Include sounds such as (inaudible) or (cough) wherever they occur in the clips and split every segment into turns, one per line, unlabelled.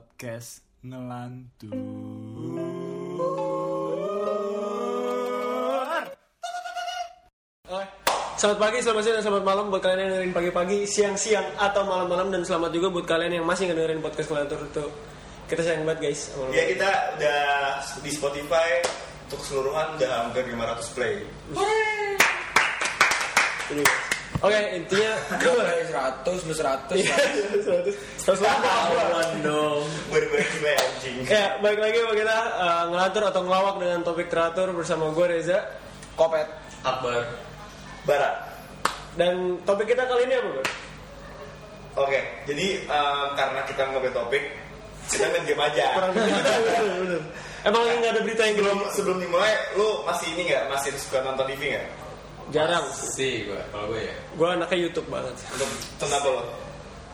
podcast ngelantur.
Selamat pagi, selamat siang, dan selamat malam buat kalian yang dengerin pagi-pagi, siang-siang, atau malam-malam Dan selamat juga buat kalian yang masih ngedengerin podcast Ngelantur itu Kita sayang banget guys sama
Ya
lu.
kita udah di Spotify untuk keseluruhan udah hampir 500 play.
Ini, guys. Oke, (laughs) intinya
seratus lu seratus
Terus lah
dong.
Berbagi play anjing.
Ya, balik lagi sama kita eh, Ngelantur atau ngelawak dengan topik teratur bersama gue Reza
kopet
Akbar. Barat.
Dan topik kita kali ini apa, (laughs) Bro?
Oke, jadi em, karena kita nggak punya topik, kita main game aja.
Kurang lebih gitu. Emang lagi nggak ada berita yang
Sebelum
belum
sebelum dimulai, lu masih ini nggak? Masih suka nonton TV nggak?
Jarang
Si gue, kalau gue ya
Gue anaknya Youtube banget
Untuk tentang apa lo?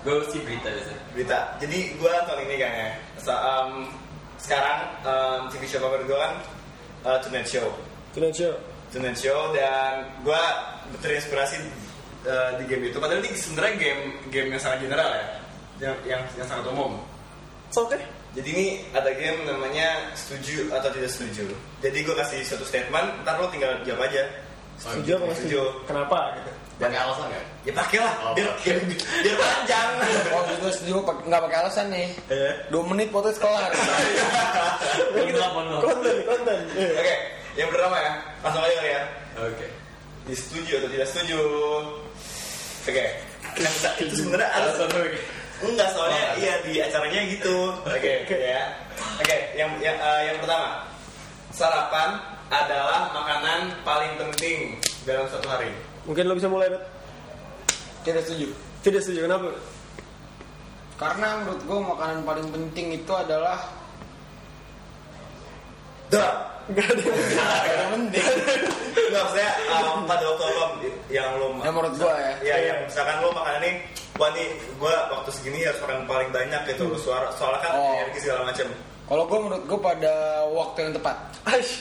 Gue sih berita biasa
Berita. Jadi gua tahun ini kayaknya. Sa- em, sekarang em, TV show favorit gua kan eh, Tonight Show.
Tonight Show
Tonight Show dan gue terinspirasi eh, di game itu. Padahal ini sebenarnya game game yang sangat general ya, yang yang, yang sangat umum.
It's okay
Jadi ini ada game namanya setuju atau tidak setuju. Jadi gue kasih satu statement, ntar lo tinggal jawab aja.
Setuju apa nggak setuju?
Setuju.
Kenapa? gitu?
Pakai alasan gak?
Ya pakailah,
Oh,
biar, biar, (laughs) biar
(laughs)
panjang.
waktu itu setuju pak- nggak pakai alasan nih
Iya.
Eh.
dua menit podcast kelar
(laughs) Gue telepon lo
Konten, konten
Oke, yang pertama ya, langsung aja kali ya.
Oke
Ini setuju atau tidak setuju? Oke, yang sa- itu sebenarnya ada
Alasan lo
Enggak soalnya iya di acaranya gitu. Oke ya. Oke yang yang, eh, yang pertama sarapan adalah makanan paling penting dalam satu hari.
Mungkin lo bisa mulai, Bet
tidak setuju
Tidak setuju, kenapa?
karena menurut gua makanan paling penting itu adalah
Dah.
yang penting
Enggak maksudnya em, pada waktu apa yang lo
ya menurut gua ya
ya yang misalkan lo makanan nih wah nih gue waktu segini harus makan paling banyak gitu lo suara soalnya kan
Oh.
energi segala macam.
kalau gua menurut gua pada waktu yang tepat
Aish,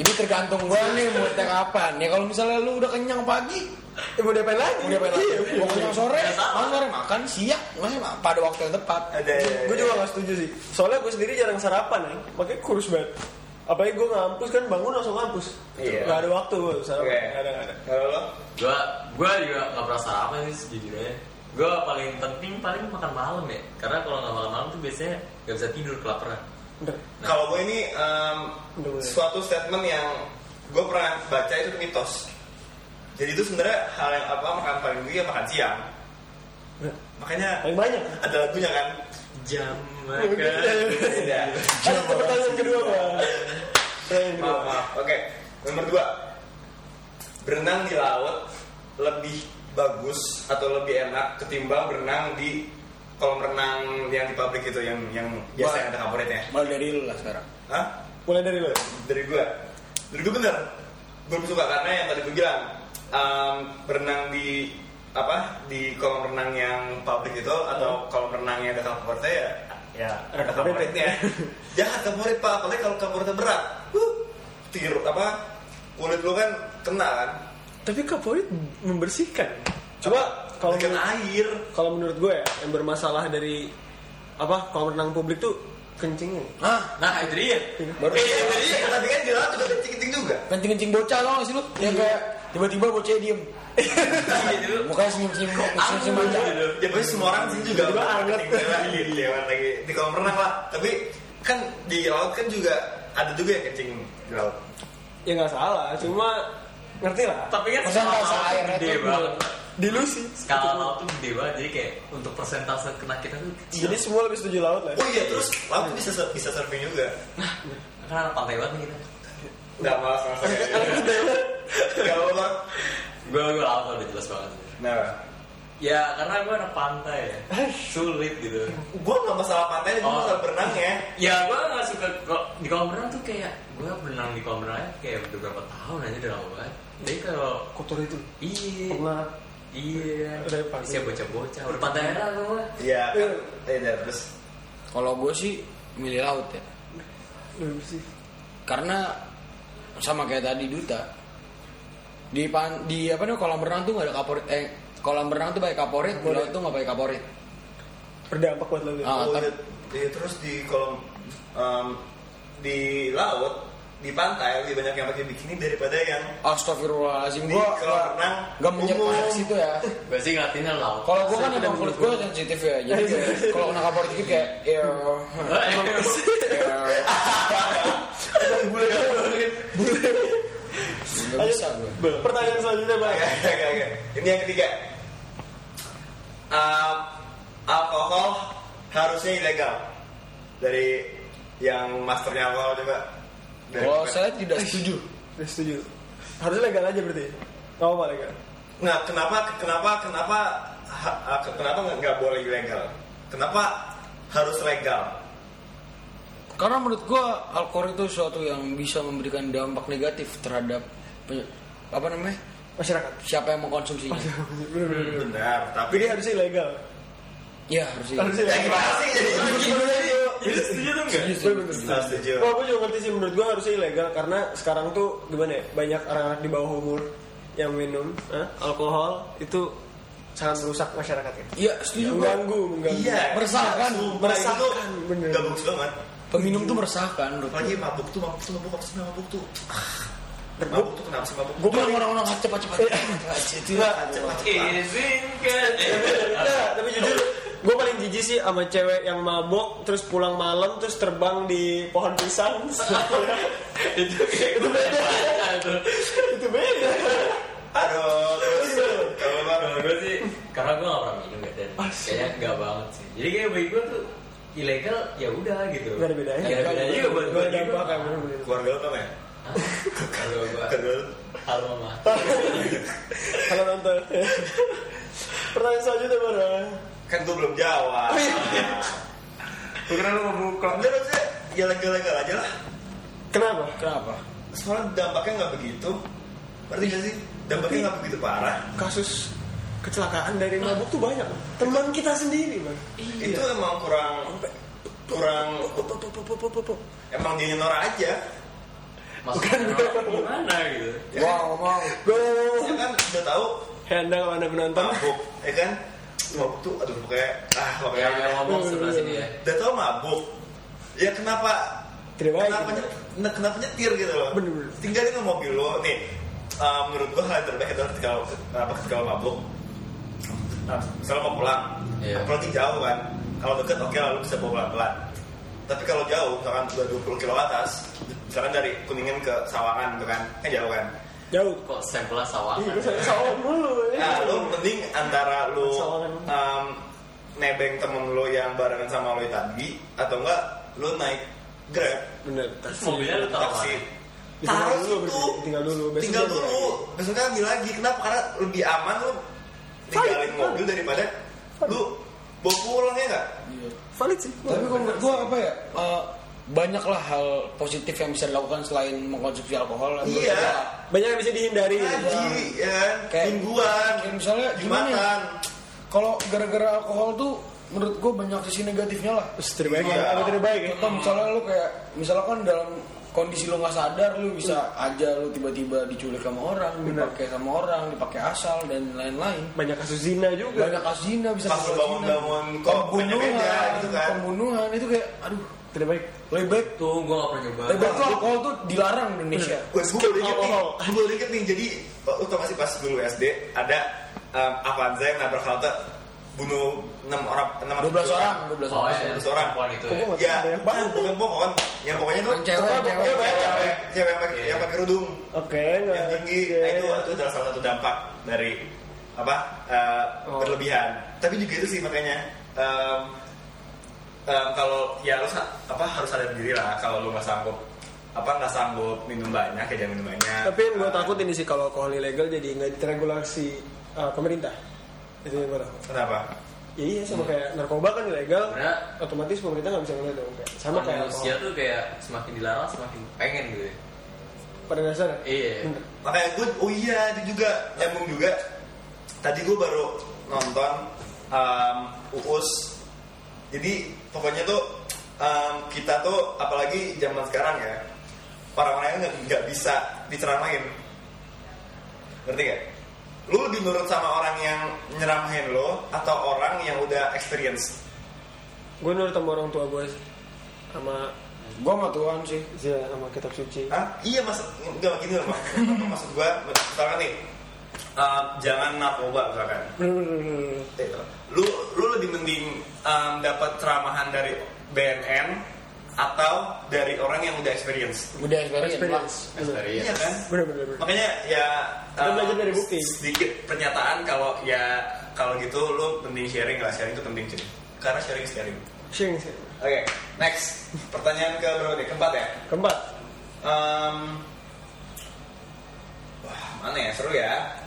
jadi tergantung gua nih moodnya kapan ya kalau misalnya lu udah kenyang pagi
eh, mau diapain lagi?
udah pengen
Iya.
mau kenyang sore mau sore makan siang nah, pada waktu yang tepat
Ada.
Gue juga gak setuju sih. Soalnya gue sendiri jarang sarapan ya, makanya kurus banget. Apalagi gue ngampus kan bangun langsung ngampus.
Iya.
Gak ada waktu gue sarapan.
Oke.
Gak ada, gak ada.
Kalau lo?
Gue gua juga gak pernah sarapan sih sejujurnya Gue paling penting paling makan malam ya Karena kalau gak makan malam tuh biasanya gak bisa tidur kelaparan
Bentar.
Kalau gue ini em,
Udah mulai.
suatu statement yang gue pernah baca itu mitos. Jadi itu sebenarnya hal yang apa makan paling gue ya makan siang.
Nah,
Makanya
Paling banyak. Oh,
ada lagunya kan.
Jam makan
Tidak.
Kan pertanyaan kedua gue. Pertanyaan kedua.
Maaf, maaf. Oke. Nomor dua. Berenang di laut lebih bagus atau lebih enak ketimbang berenang di kolam renang yang di pabrik itu yang yang biasa
Wah.
yang ada favoritnya.
malu dari lu lah sekarang
Hah?
Mulai dari lo.
dari gue dari gue bener gue lebih suka karena yang tadi gue bilang em, berenang di apa di kolam renang yang publik itu atau kolam renang yang ada kapornya ya ya ada (laughs) kapornya jangan kaporit pak apalagi kalau kapornya berat Huh, tiru apa kulit lu kan kena kan
Tapi kaporit membersihkan. Coba kalau
Kena
menurut,
air
kalau menurut gue ya, yang bermasalah dari apa kolam renang publik tuh kencingnya.
ah
Nah itu dia
baru
eh ya, jadi tapi kan di laut udah kencing-kencing juga
kencing-kencing bocah tau gak sih lu?
Iya.
Yang kayak tiba-tiba bocahnya
(laughs)
diem
Gitu
Mukanya senyum-senyum, senyum-senyum aja
ya pokoknya semua orang sih juga
Tiba-tiba
udah
anget.
kencing lagi lewat lagi di kolam renang lah tapi kan di laut kan juga ada juga yang kencing di laut
Ya nggak salah, cuma ngerti lah.
Tapi kan
Masa rasa
skala laut tuh
airnya
gede
tuh
banget
Dilusi.
Skala laut tuh gede banget Jadi kayak untuk persentase kena kita tuh kecil
Jadi semua lebih setuju laut lah.
oh iya terus laut tuh bisa sur- bisa surfing juga
Karena anak pantai banget nih kita
(laughs) nggak malas sama sekali nggak apa
Gue gue laut udah jelas banget
nah
Ya karena gue anak pantai ya Sulit gitu
gue nggak masalah pantai gue
Oh.
masalah berenang ya
Ya gue gak suka kalau di kolam renang tuh kayak Gue berenang di kolam renang kayak udah berapa tahun aja udah lama banget Jadi kalau
Kotor itu.
Iya
Pernah
Iya
Udah pantai.
Saya bocah-bocah Udah pantai era gue
iya kan eh dan terus
Kalau gue sih milih laut ya
lebih bersih.
Karena sama kayak tadi Duta Di pan, di apa namanya kolam renang tuh gak ada kaporit Eh kolam renang tuh pakai kaporit, di laut tuh gak pakai kaporit
berdampak buat lo gitu.
ah,
Oh,
tapi,
iya. Iya, terus di kolam em, di laut di pantai lebih banyak yang pakai bikini daripada yang Di
Astagfirullahaladzim gua
kolam
gua-
renang
gak menyebar
umum.
situ ya
Gue sih ngeliatinnya laut.
kalau gua kan emang kulit gua sensitif ya
(laughs)
jadi kayak kalau kena kabar dikit kayak ya
Eh.
bule
nggak bisa gua
Pertanyaan selanjutnya bang.
Ini yang ketiga. Em, alkohol harusnya ilegal dari yang masternya alkohol coba. Dari-
kalau Oh, saya tidak setuju
Udah setuju. Harusnya legal aja berarti. Gak apa-apa legal.
Nah, kenapa kenapa kenapa ha- ha- kenapa nggak- nggak boleh ilegal? Kenapa harus legal?
karena menurut gua alkohol itu sesuatu yang bisa memberikan dampak negatif terhadap pe- apa namanya
Masyarakat.
siapa yang
(laughs)
mengkonsumsinya
(laughs) Bener-bener.
Benar, tapi
Jadi harusnya legal.
ya harusnya
Harusnya
(laughs) ya
legal.
gimana sih jadi
Jadi setuju tuh nggak?
Setuju, setuju.
Nah, setuju.
Wah, gue juga ngerti sih menurut gue harusnya ilegal karena sekarang tuh gimana ya banyak anak-anak di bawah umur yang minum eh, alkohol itu sangat merusak masyarakat kita.
Iya setuju
Ya
gua
Mengganggu, mengganggu.
Iya,
Meresahkan.
sumpah,
Meresahkan,
itu
bener.
Gak bagus banget.
Peminum tuh meresahkan menurut gua.
Apalagi mabuk tuh, mabuk tuh, mabuk, mabuk, mabuk tuh. Ah, Mabuk tuh kenapa sih mabuk?
Gue bilang orang-orang hacep hacep hacep
Iya.
(laughs) hacep itu
Nah,
Iya.
Izinkan.
Nah, tapi jujur gue paling jijik sih sama cewek yang mabok terus pulang malam terus terbang di pohon pisang.
(laughs) Itu kayak gue tanya tuh.
itu beda.
Aduh, kalau baru
Kalau gue sih, karena gue gak pernah minum ya dan kayaknya gak banget sih. Jadi kayak bagi gue tuh ilegal ya udah gitu.
Gak ada bedanya.
Gak ada bedanya juga buat
Gue
gue.
dampak kan bener-bener.
keluarga lu apa ya?
Kalau gue,
Keluarga lu
halo mama.
Kalau nonton. Pertanyaan selanjutnya mana?
kan gua belum jawab. iya. Gue kira lu mabuk kelam dia harusnya ya legal-legal aja lah.
Kenapa?
Kenapa?
Soalnya dampaknya nggak begitu. Berarti gak sih? Dampaknya nggak begitu parah.
Kasus kecelakaan dari mabuk tuh banyak. Bang. Teman kita sendiri, Bang.
Itu emang kurang kurang emang dia nyenor aja.
Maksudnya gimana gitu?
Wah ngomong
Gue
Ya kan udah tahu
Anda kalau Anda penonton
mabuk, ya kan? Mabuk tuh aduh kayak ah
Iya,
Ya
pokoknya
yang ngomong sebelah sini ya.
udah tau mabuk ya kenapa
Tidak baik,
kenapa,
gitu.
nye- kenapa nyetir gitu loh
Bener-bener.
tinggalin lo mobil lo nih uh, menurut gua hal yang terbaik adalah ketika lo, apa, ketika lo mabuk nah, misalnya mau pulang
Iya.
apalagi jauh kan kalau deket oke lalu bisa bawa pelan-pelan tapi kalau jauh misalkan udah 20 kilo atas misalkan dari Kuningan ke Sawangan gitu kan kan jauh kan
jauh.
Kok sampelnya sawah?
Ih, gue saya sawan dulu.
Ya,
Nah, lu mending antara lu
Soalan.
um, nebeng temen lu yang barengan sama lu tadi atau enggak lu naik Grab,
Bener.
Terus mobilnya lu tau
taksi.
mana?
Ditinggal
Taruh
dulu,
situ.
berarti. Tinggal dulu, besok
Tinggal
ambil
dulu. Besok kan ambil lagi. Kenapa? Karena lebih aman lu ninggalin
Valid,
mobil daripada lu bawa pulang ya enggak?
Valid sih.
Tapi kalau menurut gue apa ya eh, Banyaklah hal positif yang bisa dilakukan selain mengkonsumsi alkohol Menurut
Iya.
gua,
banyak yang bisa dihindari.
Haji, ya kan?
Iya, Kayak-
Mingguan.
kayak misalnya gimana ya?
Jumatan.
Kalau gara-gara alkohol tuh menurut gue banyak sisi negatifnya lah
Terus terbaik
Iya.
ya, apa terbaik ya?
Contoh misalnya lu kayak Misalkan dalam kondisi lu nggak sadar lu bisa aja lu tiba-tiba diculik sama orang dipakai sama orang dipakai asal dan lain-lain
Banyak kasus zina juga.
banyak kasus zina
Pas
bisa
lu
kasus
bangun-bangun
zina.
kok beda-beda
pembunuhan
gitu kan?
pembunuhan itu kayak aduh
Terbaik.
lebih baik
Tuh gue gak pernah nyoba.
Tapi betul alkohol tuh dilarang di Indonesia.
Gue gue baru inget nih,
alkohol.
gue baru inget nih. Jadi lu tau gak sih pas dulu SD ada um, Avanza yang nabrak halte bunuh 6 orang, 6
12 orang, 12
Oh
orang.
ya,
Seorang.
perempuan itu ya.
Kok
Ya,
Ada yang
bukan bukan pohon. Yang pokoknya tuh
Yang cewek, yang cewek. Iya,
Cewek, cewek, cewek yang pakai yang pakai kerudung,
Oke, nggak
yang tinggi.
oke.
Nah, itu itu adalah salah satu dampak dari apa eh, berlebihan. Tapi juga itu sih makanya em, em, kalau ya harus apa harus sadar diri lah kalau lu nggak sanggup apa nggak sanggup minum banyak ya jangan minum banyak.
Tapi yang gue
Eh,
takut ini sih kalau alkohol ilegal jadi nggak diteregulasi eh, pemerintah. Itu yang gue takut.
Kenapa?
Ya iya sama kayak narkoba kan ilegal,
Iya.
Karena
otomatis pemerintah nggak bisa ngeliat dong. Kayak- Sama kayak
manusia
alkohol.
tuh kayak semakin dilarang semakin pengen gitu ya.
Pada dasarnya.
Iya.
Bener.
makanya gue oh iya itu juga nyambung juga tadi gue baru nonton um, uus jadi pokoknya tuh um, kita tuh apalagi zaman sekarang ya orang-orangnya nggak nggak bisa diceramahin ngerti gak lu lebih nurut sama orang yang nyeramahin lo atau orang yang udah experience
Gue nurut sama orang tua gue sih. Sama
Gua sama Tuhan sih.
ya, sama kitab suci.
Hah? Iya maksud enggak gini loh Mas. maksud gua misalkan nih eh, jangan narkoba misalkan.
Bener-bener.
Gitu. Lu lu lebih mending em, dapat ceramahan dari BNN atau dari orang yang udah experience.
Udah experience lah.
Experience. Bener.
Iya kan?
Bener-bener. bener.
Makanya ya
Kita
em,
belajar dari bukti.
Sedikit pernyataan kalau ya kalau gitu lu mending sharing lah sharing itu penting cuy. Karena sharing is sharing.
Sharing sih.
Oke, next. Pertanyaan ke berapa nih? Keempat ya?
Keempat.
Em, wah, mana ya? Seru ya. (laughs)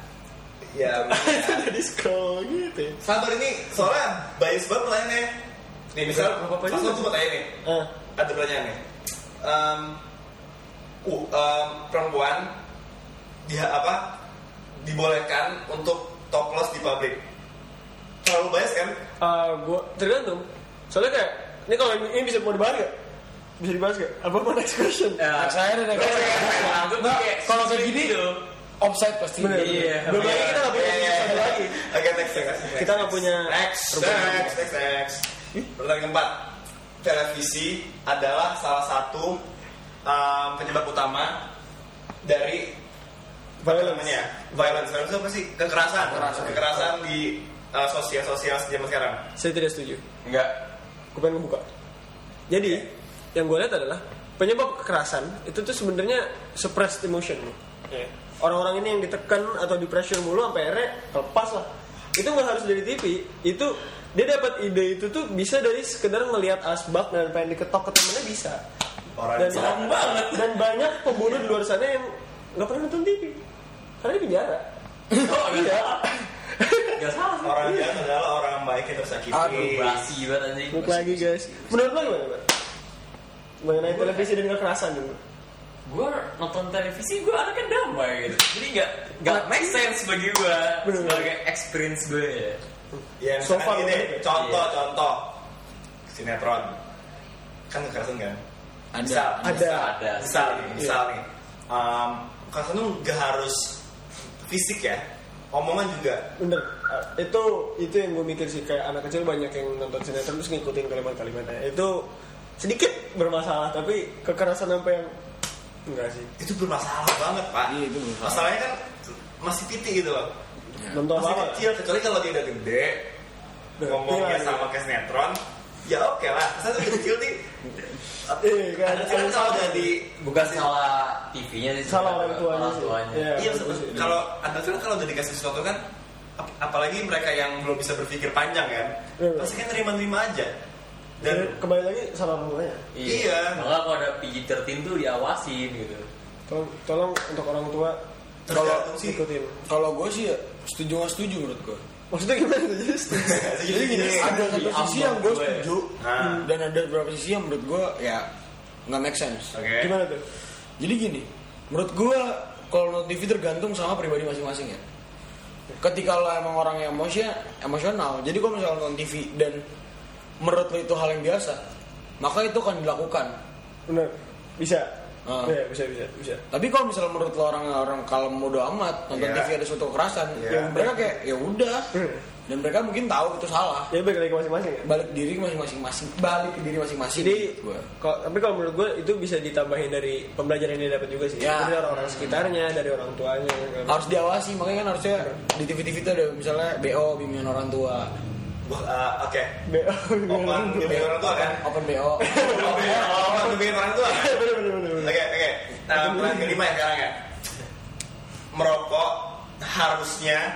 Ya, mana ya.
Jadi scroll gitu ya.
sabar ini soalnya bias banget pertanyaannya. Nih, misal,
Nggak apa-apa
pas
juga.
aku mau tanya nih,
Ah,
ada pertanyaan nih. Em, uh, em, perempuan dia apa dibolehkan untuk topless di publik. Terlalu bias kan?
ah, gua tergantung. Soalnya kayak ini kalau ini, ini bisa mau dibahas gak? Bisa dibahas gak? Apa apa next question?
Ya,
Next aja deh, next aja.
Aku
Nah,
kayak gitu,
kalau kayak gini,
tuh.
offside pasti.
Bener.
Iya.
Belum lagi kita nggak punya
Iya, iya,
satu
iya.
lagi.
Oke, next, next, next.
Kita nggak punya
Next,
perubahan.
next, next, next. Pertanyaan keempat, televisi adalah salah satu um, penyebab utama dari apa
Violence.
namanya Iya. violence. Violence itu apa sih? Kekerasan, kekerasan, di uh, sosial-sosial zaman sekarang.
Saya tidak setuju.
Enggak.
gue pengen ngebuka jadi yang gue lihat adalah penyebab kekerasan itu tuh sebenarnya suppressed emotion nih. orang-orang ini yang ditekan atau di pressure mulu sampai akhirnya lepas lah itu nggak harus dari TV itu dia dapat ide itu tuh bisa dari sekedar ngelihat asbak dan pengen diketok ke temennya bisa
Orang
dan,
yang
banget. dan banyak pembunuh di luar sana yang nggak pernah nonton TV karena di penjara
Oh,
(laughs)
(laughs)
iya
Enggak salah sih.
Orang jahat adalah orang baik yang tersakiti.
Aduh, basi banget anjing.
Balik lagi guys menurut lo gimana Bang? mengenai televisi dan kekerasan dulu
Gue nonton televisi gue anaknya damai gitu. Jadi enggak enggak make sense bagi gue
Bener.
sebagai experience gue ya.
Ya,
So
misalkan
far,
gini,
bener.
contoh-contoh sinetron kan kekerasan kan? Misal,
Ada.
Ada.
Ada.
misal nih, misal nih, um, kekerasan tuh nggak harus fisik ya, omongan juga.
Bener. Eh, Itu itu yang gue mikir sih kayak anak kecil banyak yang nonton sinetron terus ngikutin kalimat-kalimatnya. Itu sedikit bermasalah tapi kekerasan sampai yang enggak sih.
Itu bermasalah banget pak.
Iya, itu bermasalah.
Masalahnya kan masih titik gitu loh,
Nonton
masih
apa?
kecil. Kecuali kalau dia udah gede,
Berarti
ngomongnya
lah,
sama kayak sinetron, ya oke lah. Saya tuh kecil nih.
Iya, kan.
Anak kecil kan kalau jadi
Bukan salah TV-nya sih.
Iya. Salah orang
sebenarnya,
tuanya
orang
sih.
tuanya.
Iya.
Iya, betul. kalau anda kan kalau udah dikasih sesuatu kan, ap- apalagi mereka yang belum bisa berpikir panjang kan,
Iya, iya.
pasti kan terima-terima aja.
Dan
Dan
kembali lagi salah mulanya.
Iya.
Makanya kalau ada PG-13 tuh diawasin gitu.
Tolong, tolong untuk orang tua
tergantung sih.
ikutin.
Kalau gue sih ya, setuju nggak setuju menurut gue.
Maksudnya gimana tuh? Jadi setuju.
Jadi gini,
Iya.
ada
di
satu sisi
ambang
yang gue
gue.
setuju
Ah.
dan ada beberapa sisi yang menurut gue ya nggak make sense.
oke.
Gimana tuh?
Jadi gini, menurut gue kalau nonton TV tergantung sama pribadi masing-masing ya. Ketika lo emang orang yang emosi- emosional, jadi kalau misalnya nonton TV dan menurut lo itu hal yang biasa, maka itu akan dilakukan.
Bener. Bisa.
Ah.
Iya, bisa bisa bisa.
Tapi kalau misalnya menurut lo orang-orang kalau bodo amat nonton
Iya.
TV ada suatu kekerasan,
Iya.
ya mereka kayak ya udah,
Hmm.
dan mereka mungkin tahu itu salah.
Ya balik lagi ke masing-masing ya.
Balik diri masing-masing, masing balik ke diri masing-masing.
Jadi,
menurut gua.
kalau- tapi kalau menurut gue itu bisa ditambahin dari pembelajaran yang dia dapat juga sih.
Ya.
Dari orang-orang sekitarnya, dari orang tuanya. gitu. segala macam.
harus diawasi makanya kan harusnya di TV-TV itu ada misalnya BO bimbingan orang tua,
Wah, ah, oke.
Be- (laughs)
Open demi orang tua
(laughs)
kan?
open BO.
Open demi orang tua.
Iya,
kan?
Bener-bener.
Oke, oke. Nah, pertanyaan kelima ya sekarang ya. Merokok harusnya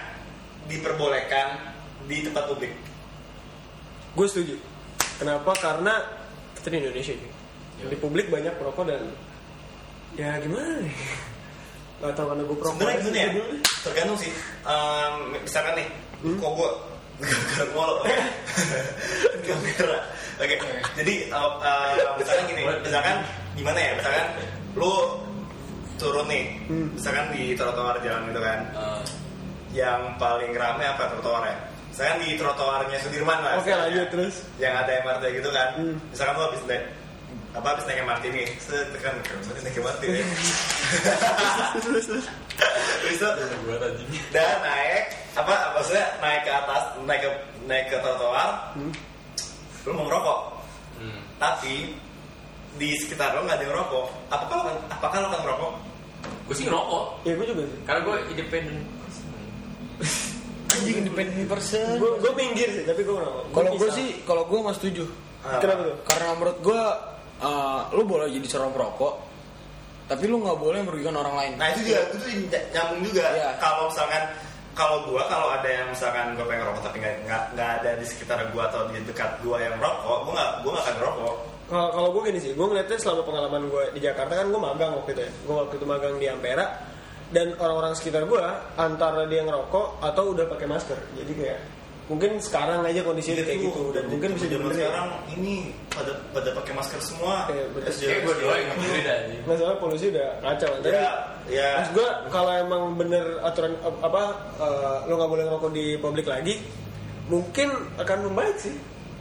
diperbolehkan di tempat publik.
Gue setuju. Kenapa? Karena kita di Indonesia sih. Di publik banyak perokok dan ya gimana nih? (laughs) Gak tau karena gue perokok.
Sebenarnya gini ya,
aja.
tergantung sih. Em, misalkan nih,
Hmm?
kok gue gara-gara mulu.
(laughs)
Gara-gara. Oke, jadi em, em, misalkan gini, misalkan gimana ya, misalkan lu turun nih,
Hmm.
misalkan di trotoar jalan gitu kan,
Eh,
yang paling rame apa trotoarnya? Misalkan di trotoarnya Sudirman lah.
Oke lanjut terus.
Yang ada MRT gitu kan,
Hmm.
misalkan lu habis naik apa habis naik MRT nih, setekan naik MRT
(laughs)
nih. Habis itu
Gue buat anjing.
dan
Hmm.
naik apa maksudnya naik ke atas naik ke naik ke trotoar lu mau ngerokok
Hmm.
tapi di sekitar lo nggak ada yang ngerokok apakah lo akan- apakah lo akan kan ngerokok
Gue sih ngerokok.
ya gue juga sih
Karena gue independen.
anjing independent person
gue gue minggir sih tapi gue ngerokok Gua
kalau gue
pisah.
sih kalau gue mas setuju
kenapa tuh
karena menurut gue eh, lu boleh jadi seorang perokok tapi lu nggak boleh merugikan orang lain
nah itu juga itu ny- nyambung juga
Iya.
kalau misalkan kalau gua kalau ada yang misalkan gua pengen ngerokok tapi nggak nggak nggak ada di sekitar gua atau di dekat gua yang rokok gua nggak gua nggak akan ngerokok
Kalau- kalau gue gini sih, gue ngeliatnya selama pengalaman gue di Jakarta kan gue magang waktu itu ya. Gue waktu itu magang di Ampera dan orang-orang sekitar gue antara dia ngerokok atau udah pakai masker. Jadi kayak mungkin sekarang aja kondisinya kayak gitu dan mungkin bisa
zaman
dibenerin.
sekarang ini pada pada pakai masker semua
Iya, bener.
Kayak gue doang yang
Iya.
berdiri dah. ini.
Masalah polusi udah kacau. Tapi
ya ya
Terus gue kalau emang bener aturan ap- apa eh, lo nggak boleh ngerokok di publik lagi, mungkin akan membaik sih.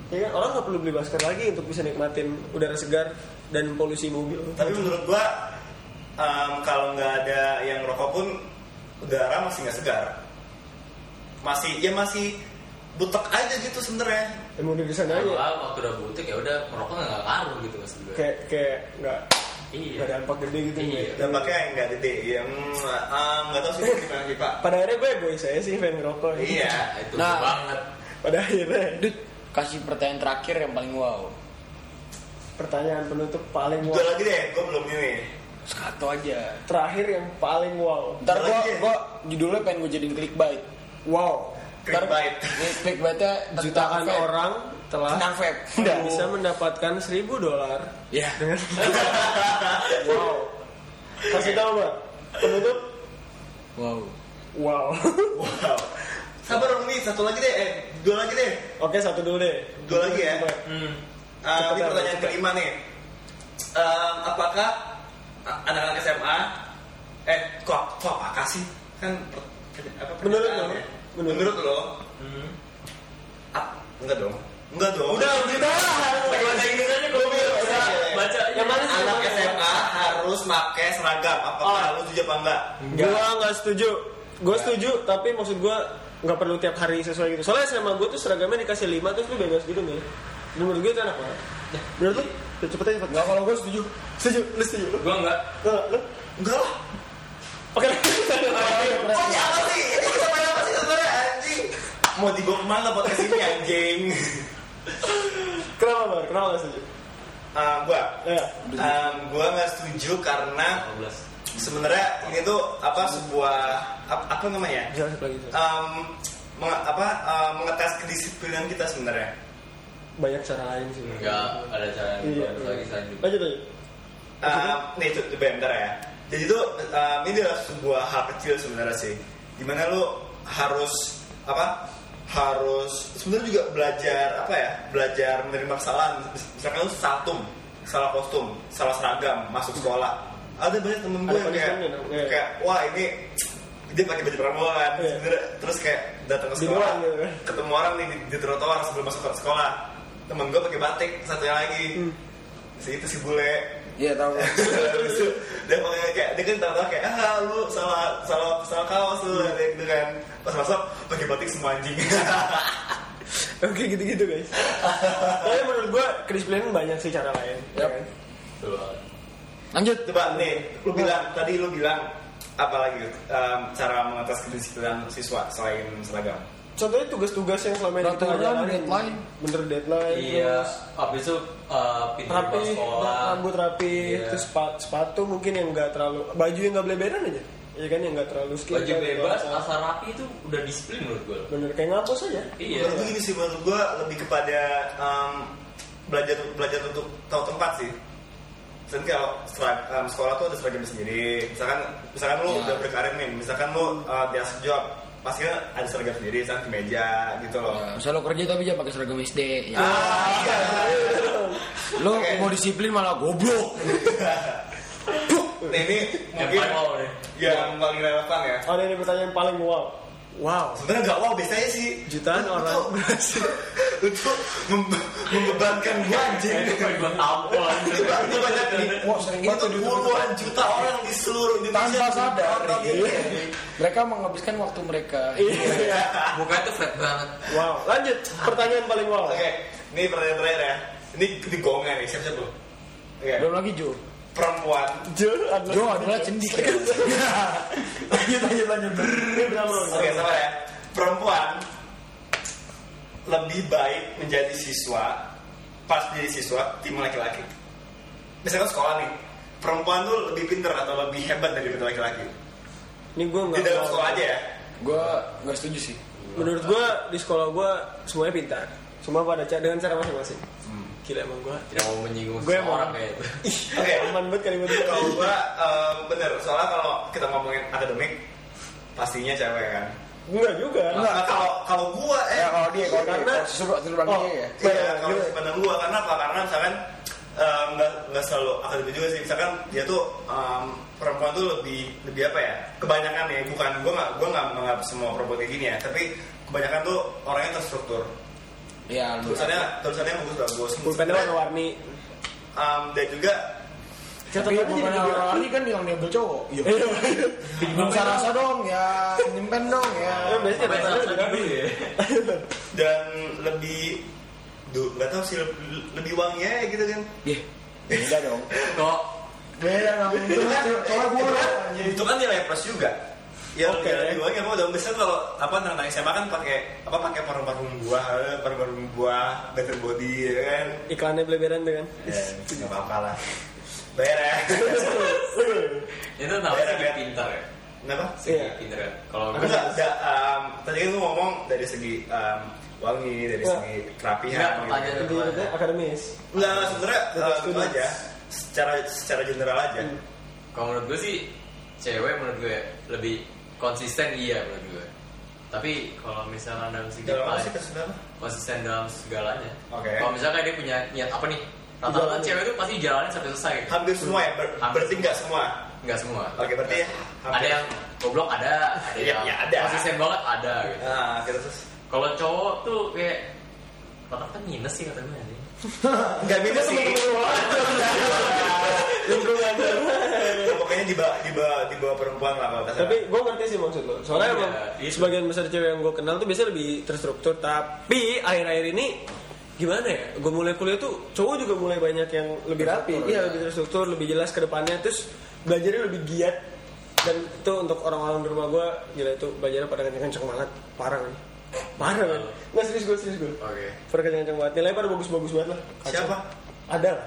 Ya kan? orang nggak perlu beli masker lagi untuk bisa nikmatin udara segar dan polusi mobil.
tapi menurut gua em, kalau nggak ada yang rokok pun udara masih nggak segar masih ya masih butek aja gitu sebenarnya
Emang udah bisa
Kalau
nanya.
waktu udah butik ya udah merokok nggak ngaruh gitu maksud gue.
kayak kayak nggak
Iya.
nggak dampak gede gitu
Iya.
ya.
dampaknya yang nggak gede ya mm, em, nggak tahu sih gimana sih pak
Pada akhirnya gue egois saya sih fan ngerokok. ya.
iya
Nah, itu
Nah.
banget.
Pada akhirnya
Dut, kasih pertanyaan terakhir yang paling wow
pertanyaan penutup paling
dua
wow
lagi deh gua belum ini
satu aja
terakhir yang paling wow.
ntar
Apa
gue
lagi ya?
gua judulnya pengen gue jadiin clickbait
Wow.
Ntar-
Clickbait.
ini clickbaitnya tentang
Jutaan
vape.
orang telah
tentang vape
bisa mendapatkan 1000 dolar
ya
dengan wow. Kasih tahu mbak penutup
wow
wow. (laughs)
wow sabar dong nih satu lagi deh eh, dua lagi deh
Oke satu dulu deh.
Dua lagi ya?
Coba.
Hmm.
Uh, ini
Cepetan,
pertanyaan
cepetan.
kelima nih. Um, apakah a- anak-anak SMA eh kok kok apakah sih kan per- per- apa,
Menurut
pernyataan
lo?
ya?
Menurut.
menurut, lo ap- enggak dong enggak dong
Udah udah.
Pakai bahasa Inggris aja gue bilang udah baca.
Yang mana sih?
anak SMA harus pakai seragam apakah
Oh.
lu setuju apa enggak
Gua nggak setuju. Gua setuju, tapi maksud gua nggak perlu tiap hari sesuai gitu. Soalnya SMA gua tuh seragamnya dikasih lima terus lu bebas gitu nih. Menurut gua itu enak banget. Menurut lu? Cepet Ya, cepet aja, cepet.
nggak kalau gue setuju
Setuju, lu setuju. Lu-
Gue enggak.
Lu lu.
enggak lah
Oke. iya,
oh ya apa sih ini kita main apa sih sebenarnya anjing mau dibawa kemana podcast ini anjing
Kenapa, Bang? Kenapa nggak setuju?
Eh, gua
Ya.
em, gua nggak setuju karena
15.
sebenarnya ini tuh apa sebuah apa, apa namanya ya?
Bisa lagi.
Em, menge- apa em, mengetes kedisiplinan kita sebenarnya
Banyak cara lain sih.
Enggak ada cara yang
Iya.
bagus lagi selanjutnya.
Lanjut aja.
Em, nih itu coba bentar ya jadi tuh em, ini adalah sebuah hal kecil sebenarnya sih dimana lu harus apa harus sebenarnya juga belajar apa ya belajar menerima kesalahan misalkan lu satum salah kostum salah seragam masuk sekolah ada banyak temen
Ada
gue yang kayak,
punishment-nya dong, iya.
kayak wah ini dia pakai baju pramuka kan
Iya.
Sebenarnya, terus kayak datang ke
Di
sekolah
luar gitu kan.
ketemu orang nih di, di trotoar sebelum masuk ke sekolah temen gue pakai batik satunya lagi
Hmm.
si itu si bule
ya tahu gua.
Habis itu dia pakai kayak dia kan tahu kayak ah lu salah salah salah kaos lu ada gitu kan pas masuk pakai batik semua anjing (laughs)
Oke, gitu-gitu, guys. Tapi menurut gua kedisiplinan banyak sih cara lain. ya
Yap.
kan?
Tuh.
lanjut
coba nih lu bilang tadi lu bilang apa lagi em, cara mengatasi kedisiplinan siswa selain seragam
Contohnya tugas-tugas yang selama ini kita
Peraturan,
jalanin.
deadline.
Bener deadline.
Iya.
terus
Abis itu eh, pintu
rapi,
keluar sekolah.
rambut rapi,
Iya.
terus sepa- sepatu mungkin yang enggak terlalu baju yang enggak beleberan aja. Iya kan yang enggak terlalu skin.
Baju bebas, asal rapi itu udah disiplin menurut gue.
Bener kayak ngapus aja.
Iya.
menurut gue gini sih menurut gue lebih kepada em, belajar belajar untuk tahu tempat sih Misalkan kalau serag- em, sekolah tuh ada seragam sendiri misalkan misalkan lu
Ya.
udah berkarir nih misalkan lu eh, di ask job pasti kan ada seragam sendiri misalkan kemeja gitu loh
Ya, Misalnya lo kerja tapi jangan pakai seragam SD ya.
Ah, iya.
Lo
Oke.
mau disiplin malah goblok
Nah, ini
Yang
mungkin
paling awal deh.
yang paling relevan ya.
Ada ini pertanyaan paling wow. Wow.
Sebenarnya nggak wow, biasanya sih
Jutaan
Lu- lu
orang
tuh- (laughs) lu tuh membe- membebankan gua anjing.
Itu paling gue tampol.
Itu banyak itu banyak nih.
Wah, sering
Itu
banget tuh di-
puluhan juta orang di seluruh Indonesia.
Tanpa sadar. Iya.
Nonton ini.
Mereka menghabiskan waktu mereka
Iya.
Muka itu flat banget.
wow. Lanjut pertanyaan paling wow.
Oke, Ini pertanyaan terakhir ya. Ini ini gongnya nih, siap-siap lu. Oke.
Belum lagi Jo.
Perempuan
Jo
Jo adalah cendik.
lanjut lanjut lanjut
Oke, sabar ya. Perempuan lebih baik menjadi siswa pas jadi siswa tim laki-laki. Misalkan sekolah nih, perempuan tuh lebih pinter atau lebih hebat daripada laki-laki.
Ini gue
Di
nggak.
dalam
tahu.
sekolah aja ya.
Gue nggak setuju sih.
Menurut gue di sekolah gue semuanya pintar. Semua pada ca- dengan cara masing-masing.
Hmm.
Gila emang gue.
tidak mau menyinggung
Gue
seorang
mau.
kayak itu
Oke.
Aman banget kalimat itu.
Kalau gua eh, bener, soalnya kalau kita ngomongin akademik pastinya cewek kan.
Enggak juga.
Nah, kalau kalau gua eh
Ya kalau dia kalau dia
Karena-
kalau susu susu bangkitnya ya.
Iya, kalau pandang gua karena apa? Karena misalkan em, nggak nggak selalu akademik juga sih. Misalkan dia tuh em, perempuan tuh lebih lebih apa ya? Kebanyakan ya, bukan gua nggak gua nggak menganggap semua perempuan kayak gini ya. Tapi kebanyakan tuh orangnya terstruktur.
Iya. lu-
Tulisannya tulisannya bagus-bagus.
Pulpennya warna-warni.
Em, dan juga
Tapi
Catatannya
bukan
jadi tiga.
orang ini kan bilang dia bel cowok. Iya. Bingung sarasa dong ya, nyimpen dong ya.
Kan biasanya
Sampai
catatannya
saat
lebih rapi.
ini ya
dan lebih Duh, gak tau sih lebih- lebih wangi ya gitu kan
Iya. Beda dong.
kok
Beda nggak mungkin. Soalnya gue
itu kan nilai plus juga ya
Oke.
okay. lebih banyak apa dalam desain kan kalau apa tentang SMA kan pakai apa pakai parfum-parfum buah eh, parfum-parfum buah better body ya kan
Iklannya beleberan tuh kan.
ya nggak apa-apa lah bayar ya
itu namanya
Beda,
sedikit
beda.
pintar ya
kenapa
sedikit
Iya.
pintar ya kalau gue
enggak da, um, tadi kan lu ngomong dari segi um, wangi dari
Enggak.
segi kerapihan
Enggak,
gitu.
pertanyaan
Jadi maksudnya akademis.
enggak enggak, sebenarnya
Tetap
um, itu
students.
aja secara secara general aja
Hmm.
kalau menurut gue sih cewek menurut gue lebih konsisten iya menurut gue tapi kalau misalnya dalam segi
dalam Gitu. apa
paling-
sih kesudahan
konsisten dalam segalanya.
Oke.
Kalau misalnya dia punya niat apa nih? Rata-rata
Jalanin.
cewek itu pasti jalanin sampai selesai. Gitu.
hampir semua ya ber,
Hampir
berarti
semua.
enggak semua
Enggak semua.
oke berarti
Nggak
ya,
semua.
hampir.
ada yang goblok ada, ada
Iya,
yang
iya, ada.
konsisten banget ada gitu.
nah kita terus
Kalau cowok tuh kayak rata-rata minus sih kata gue anjing.
enggak minus sih
Lingkungan.
Ya, pokoknya di bawah di bawah di bawah perempuan lah kalau kasar.
Tapi gue ngerti sih maksud lo. Soalnya
Iya,
emang
iya.
sebagian besar cewek yang gue kenal tuh biasanya lebih terstruktur. Tapi akhir-akhir ini gimana ya? Gue mulai kuliah tuh cowok juga mulai banyak yang lebih rapi. Iya lebih terstruktur, lebih jelas ke depannya. Terus belajarnya lebih giat. Dan itu untuk orang-orang di rumah gue gila itu belajarnya pada kenceng-kenceng banget. Parah kan? Parah kan? Nggak serius gue, serius gue.
Oke.
Pada kenceng-kenceng banget. Nilai pada bagus-bagus banget lah. Kacau.
siapa?
Ada lah.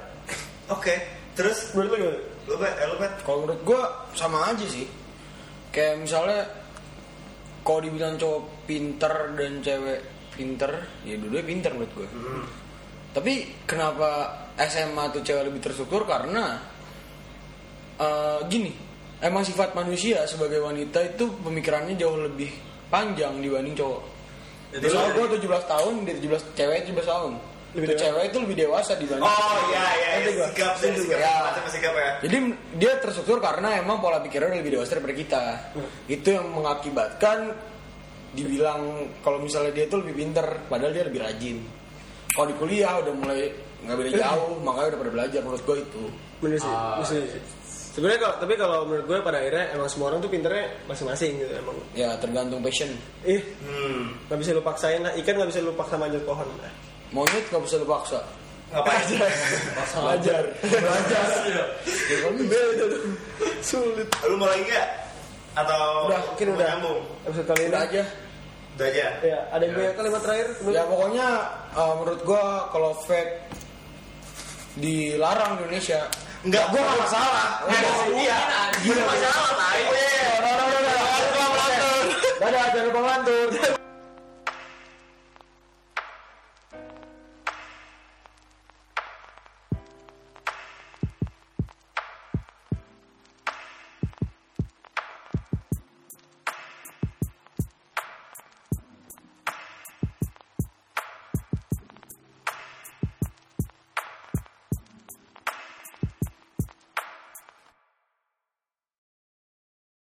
Oke. Terus
Menurut lo gimana?
lu bet, eh, lu bet.
Kalau menurut gue sama aja sih. Kayak misalnya kalau dibilang cowok pinter dan cewek pinter, ya dua-duanya pinter menurut gue. Tapi kenapa SMA tuh cewek lebih terstruktur? Karena eh, gini, emang sifat manusia sebagai wanita itu pemikirannya jauh lebih panjang dibanding cowok.
Jadi
Jadi
lo-
gue 17 tahun, dia 17 cewek 17 tahun.
Lebih
Tuh
dewasa.
cewek itu lebih dewasa dibanding
Oh iya iya
Nanti
ya,
gua.
sikap dan sikap
Ya.
macam sikap ya.
Jadi dia terstruktur karena emang pola pikirnya lebih dewasa daripada kita. Itu yang mengakibatkan dibilang kalau misalnya dia tuh lebih pinter, padahal dia lebih rajin. Kalau di kuliah udah mulai nggak beda jauh, makanya udah pada belajar menurut gue itu.
Bener sih, bener sih. Ah, iya, Sebenarnya kalau tapi kalau menurut gue pada akhirnya emang semua orang tuh pinternya masing-masing gitu emang.
Ya tergantung passion.
Ih,
(laughs) Hmm.
nggak bisa lu paksain lah. Ikan nggak bisa lu paksa manjat pohon. lah.
Monyet gak bisa dipaksa.
Ngapain?
Belajar. Belajar. Ya, kalau gitu.
Sulit.
lu mau lagi enggak? Atau
Udah,
Mungkin
mau
udah.
nyambung?
Episode kali ini.
Udah aja.
Udah aja.
Ya, ada yang punya kalimat terakhir?
Ya pokoknya eh, menurut gue kalau vape dilarang di Indonesia.
Enggak, gua enggak masalah. Iya.
Anjing, masalah, tai.
Dadah, jangan lupa ngelantur.